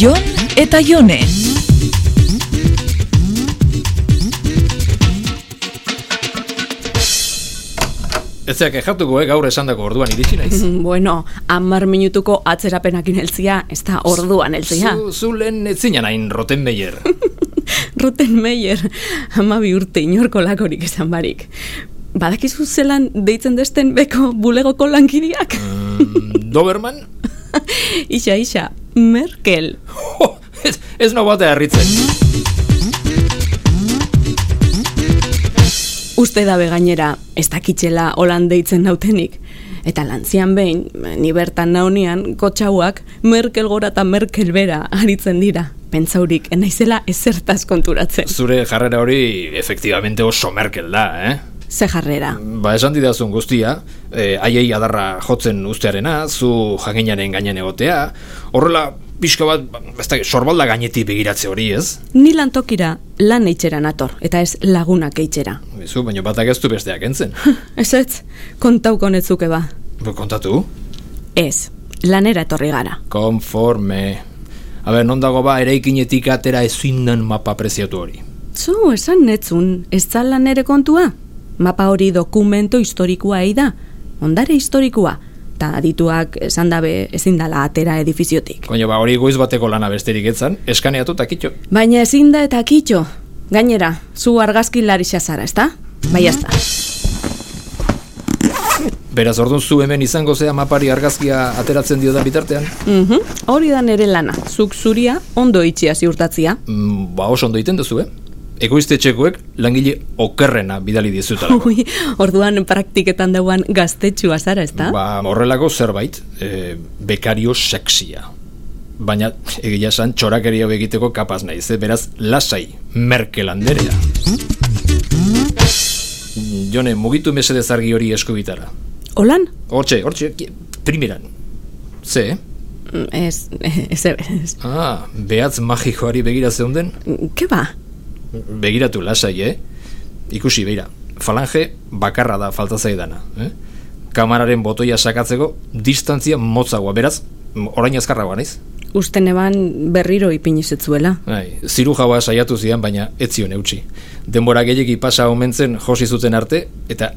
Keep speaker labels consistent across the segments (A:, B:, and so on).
A: Jon eta Jone.
B: Ez zeak ejatuko, eh, gaur esandako orduan iritsi naiz.
C: Mm, Bueno, amar minutuko atzerapenakin heltzia, ez da orduan heltzia.
B: Zu, zu lehen ez zinen hain Rottenmeier.
C: Ruten Meyer, amabi urte inorko lakorik esan barik. Badakizu zelan deitzen desten beko bulegoko lankideak?
B: Mm, Doberman?
C: isa, isa, Merkel.
B: Jo, ez, ez nau batea harritzen.
C: Uste dabe gainera, ez dakitxela holan deitzen nautenik. Eta lantzian behin, ni bertan naunean, kotxauak Merkel gora eta Merkel bera aritzen dira. Pentsaurik, enaizela ezertaz konturatzen.
B: Zure jarrera hori efektibamente oso merkel da, eh?
C: Ze jarrera.
B: Ba, esan didazun guztia, eh, haiei adarra jotzen ustearena, zu jakinaren gainean egotea, horrela pixka bat, ba, ez da, sorbalda gainetik begiratze hori, ez?
C: Ni lantokira lan eitxera nator, eta ez lagunak eitxera.
B: Bizu, baina batak ez du besteak entzen.
C: ez ez, kontauko netzuke ba.
B: Ba, Kontatu?
C: Ez, lanera etorri gara.
B: Konforme. A ber, non dago ba, eraikinetik atera ezin den mapa preziatu hori.
C: Zu, esan netzun, ez da lan ere kontua? Mapa hori dokumento historikoa ei da, ondare historikoa, eta adituak esan dabe ezin dala atera edifiziotik.
B: Koño, ba, hori goiz bateko lana besterik etzan, eskaneatu takitxo.
C: Baina ezin da eta kitxo, gainera, zu argazki larixa zara, ezta? Bai, ezta.
B: Beraz, orduan zu hemen izango zea mapari argazkia ateratzen dio da bitartean.
C: Mhm, Hori da nere lana, zuk zuria ondo itxia ziurtatzia.
B: Mm, ba, oso ondo egiten duzu, eh? Ekoiztetxekoek langile okerrena bidali dizutalako.
C: Ui, orduan praktiketan dauan gaztetxua zara, ezta?
B: Ba, horrelako zerbait, e, bekario sexia. Baina, egia esan, txorakeria hau egiteko kapaz naiz, eh? beraz, lasai, merkelanderea. Jone, mugitu mesedez argi hori eskubitara.
C: Olan?
B: Hortxe, hortxe, ki- primeran. Ze, eh?
C: Mm, Ez, ez, ez, ez.
B: Ah, behatz magikoari begira zeunden?
C: Ke ba?
B: Begiratu lasai, eh? Ikusi, beira, falange bakarra da falta zaidana, eh? Kamararen botoia sakatzeko distantzia motzagoa, beraz, m- orain azkarragoa naiz?
C: Usten eban berriro ipinizetzuela.
B: Ai, Bai, ziru jaua saiatu zidan, baina ez zion eutxi. Denbora gehiegi pasa omentzen josi zuten arte, eta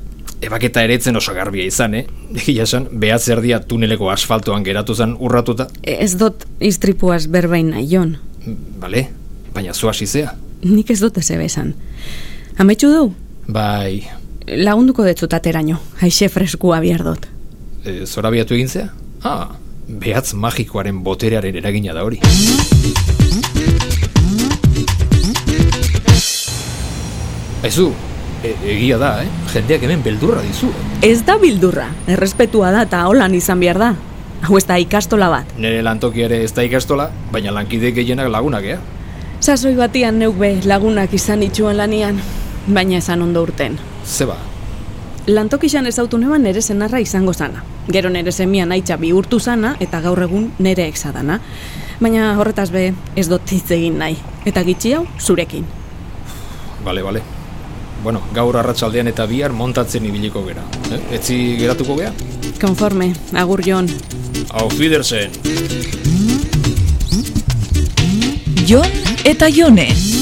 B: ebaketa eretzen oso garbia izan, eh? Egia esan, behatz erdia tuneleko asfaltoan geratu zen urratuta,
C: Ez dot iztripuaz berbain nahi, Jon.
B: bale, baina zu hasi zea.
C: Nik ez dot ez ebesan. Ametxu du,
B: Bai,
C: lagunduko detzut ateraino. Haixe freskua bihar dut.
B: e, zorabiatu egin zea? Ah, behatz magikoaren boterearen eragina da hori. Aizu, e, egia da, eh? Jendeak hemen beldurra dizu.
C: Ez da bildurra, errespetua da eta holan izan behar da. Hau ez da ikastola bat.
B: Nere lantokia ere ez da ikastola, baina lankide gehienak lagunak, eh? ea?
C: Sasoi batian neuk be lagunak izan itxuen lanian, baina esan ondo urten.
B: Zeba,
C: Lantokixan ezautu neban nere senarra izango zana. Gero nere semia naitza bihurtu zana eta gaur egun nere eksadana. Baina horretaz be ez dut hitz egin nahi. Eta gitxi hau zurekin.
B: bale, bale. Bueno, gaur arratsaldean eta bihar montatzen ibiliko gera. Eh? Etzi geratuko gea?
C: Konforme, agur jon.
B: Auf Wiedersehen!
A: Jon eta Jone.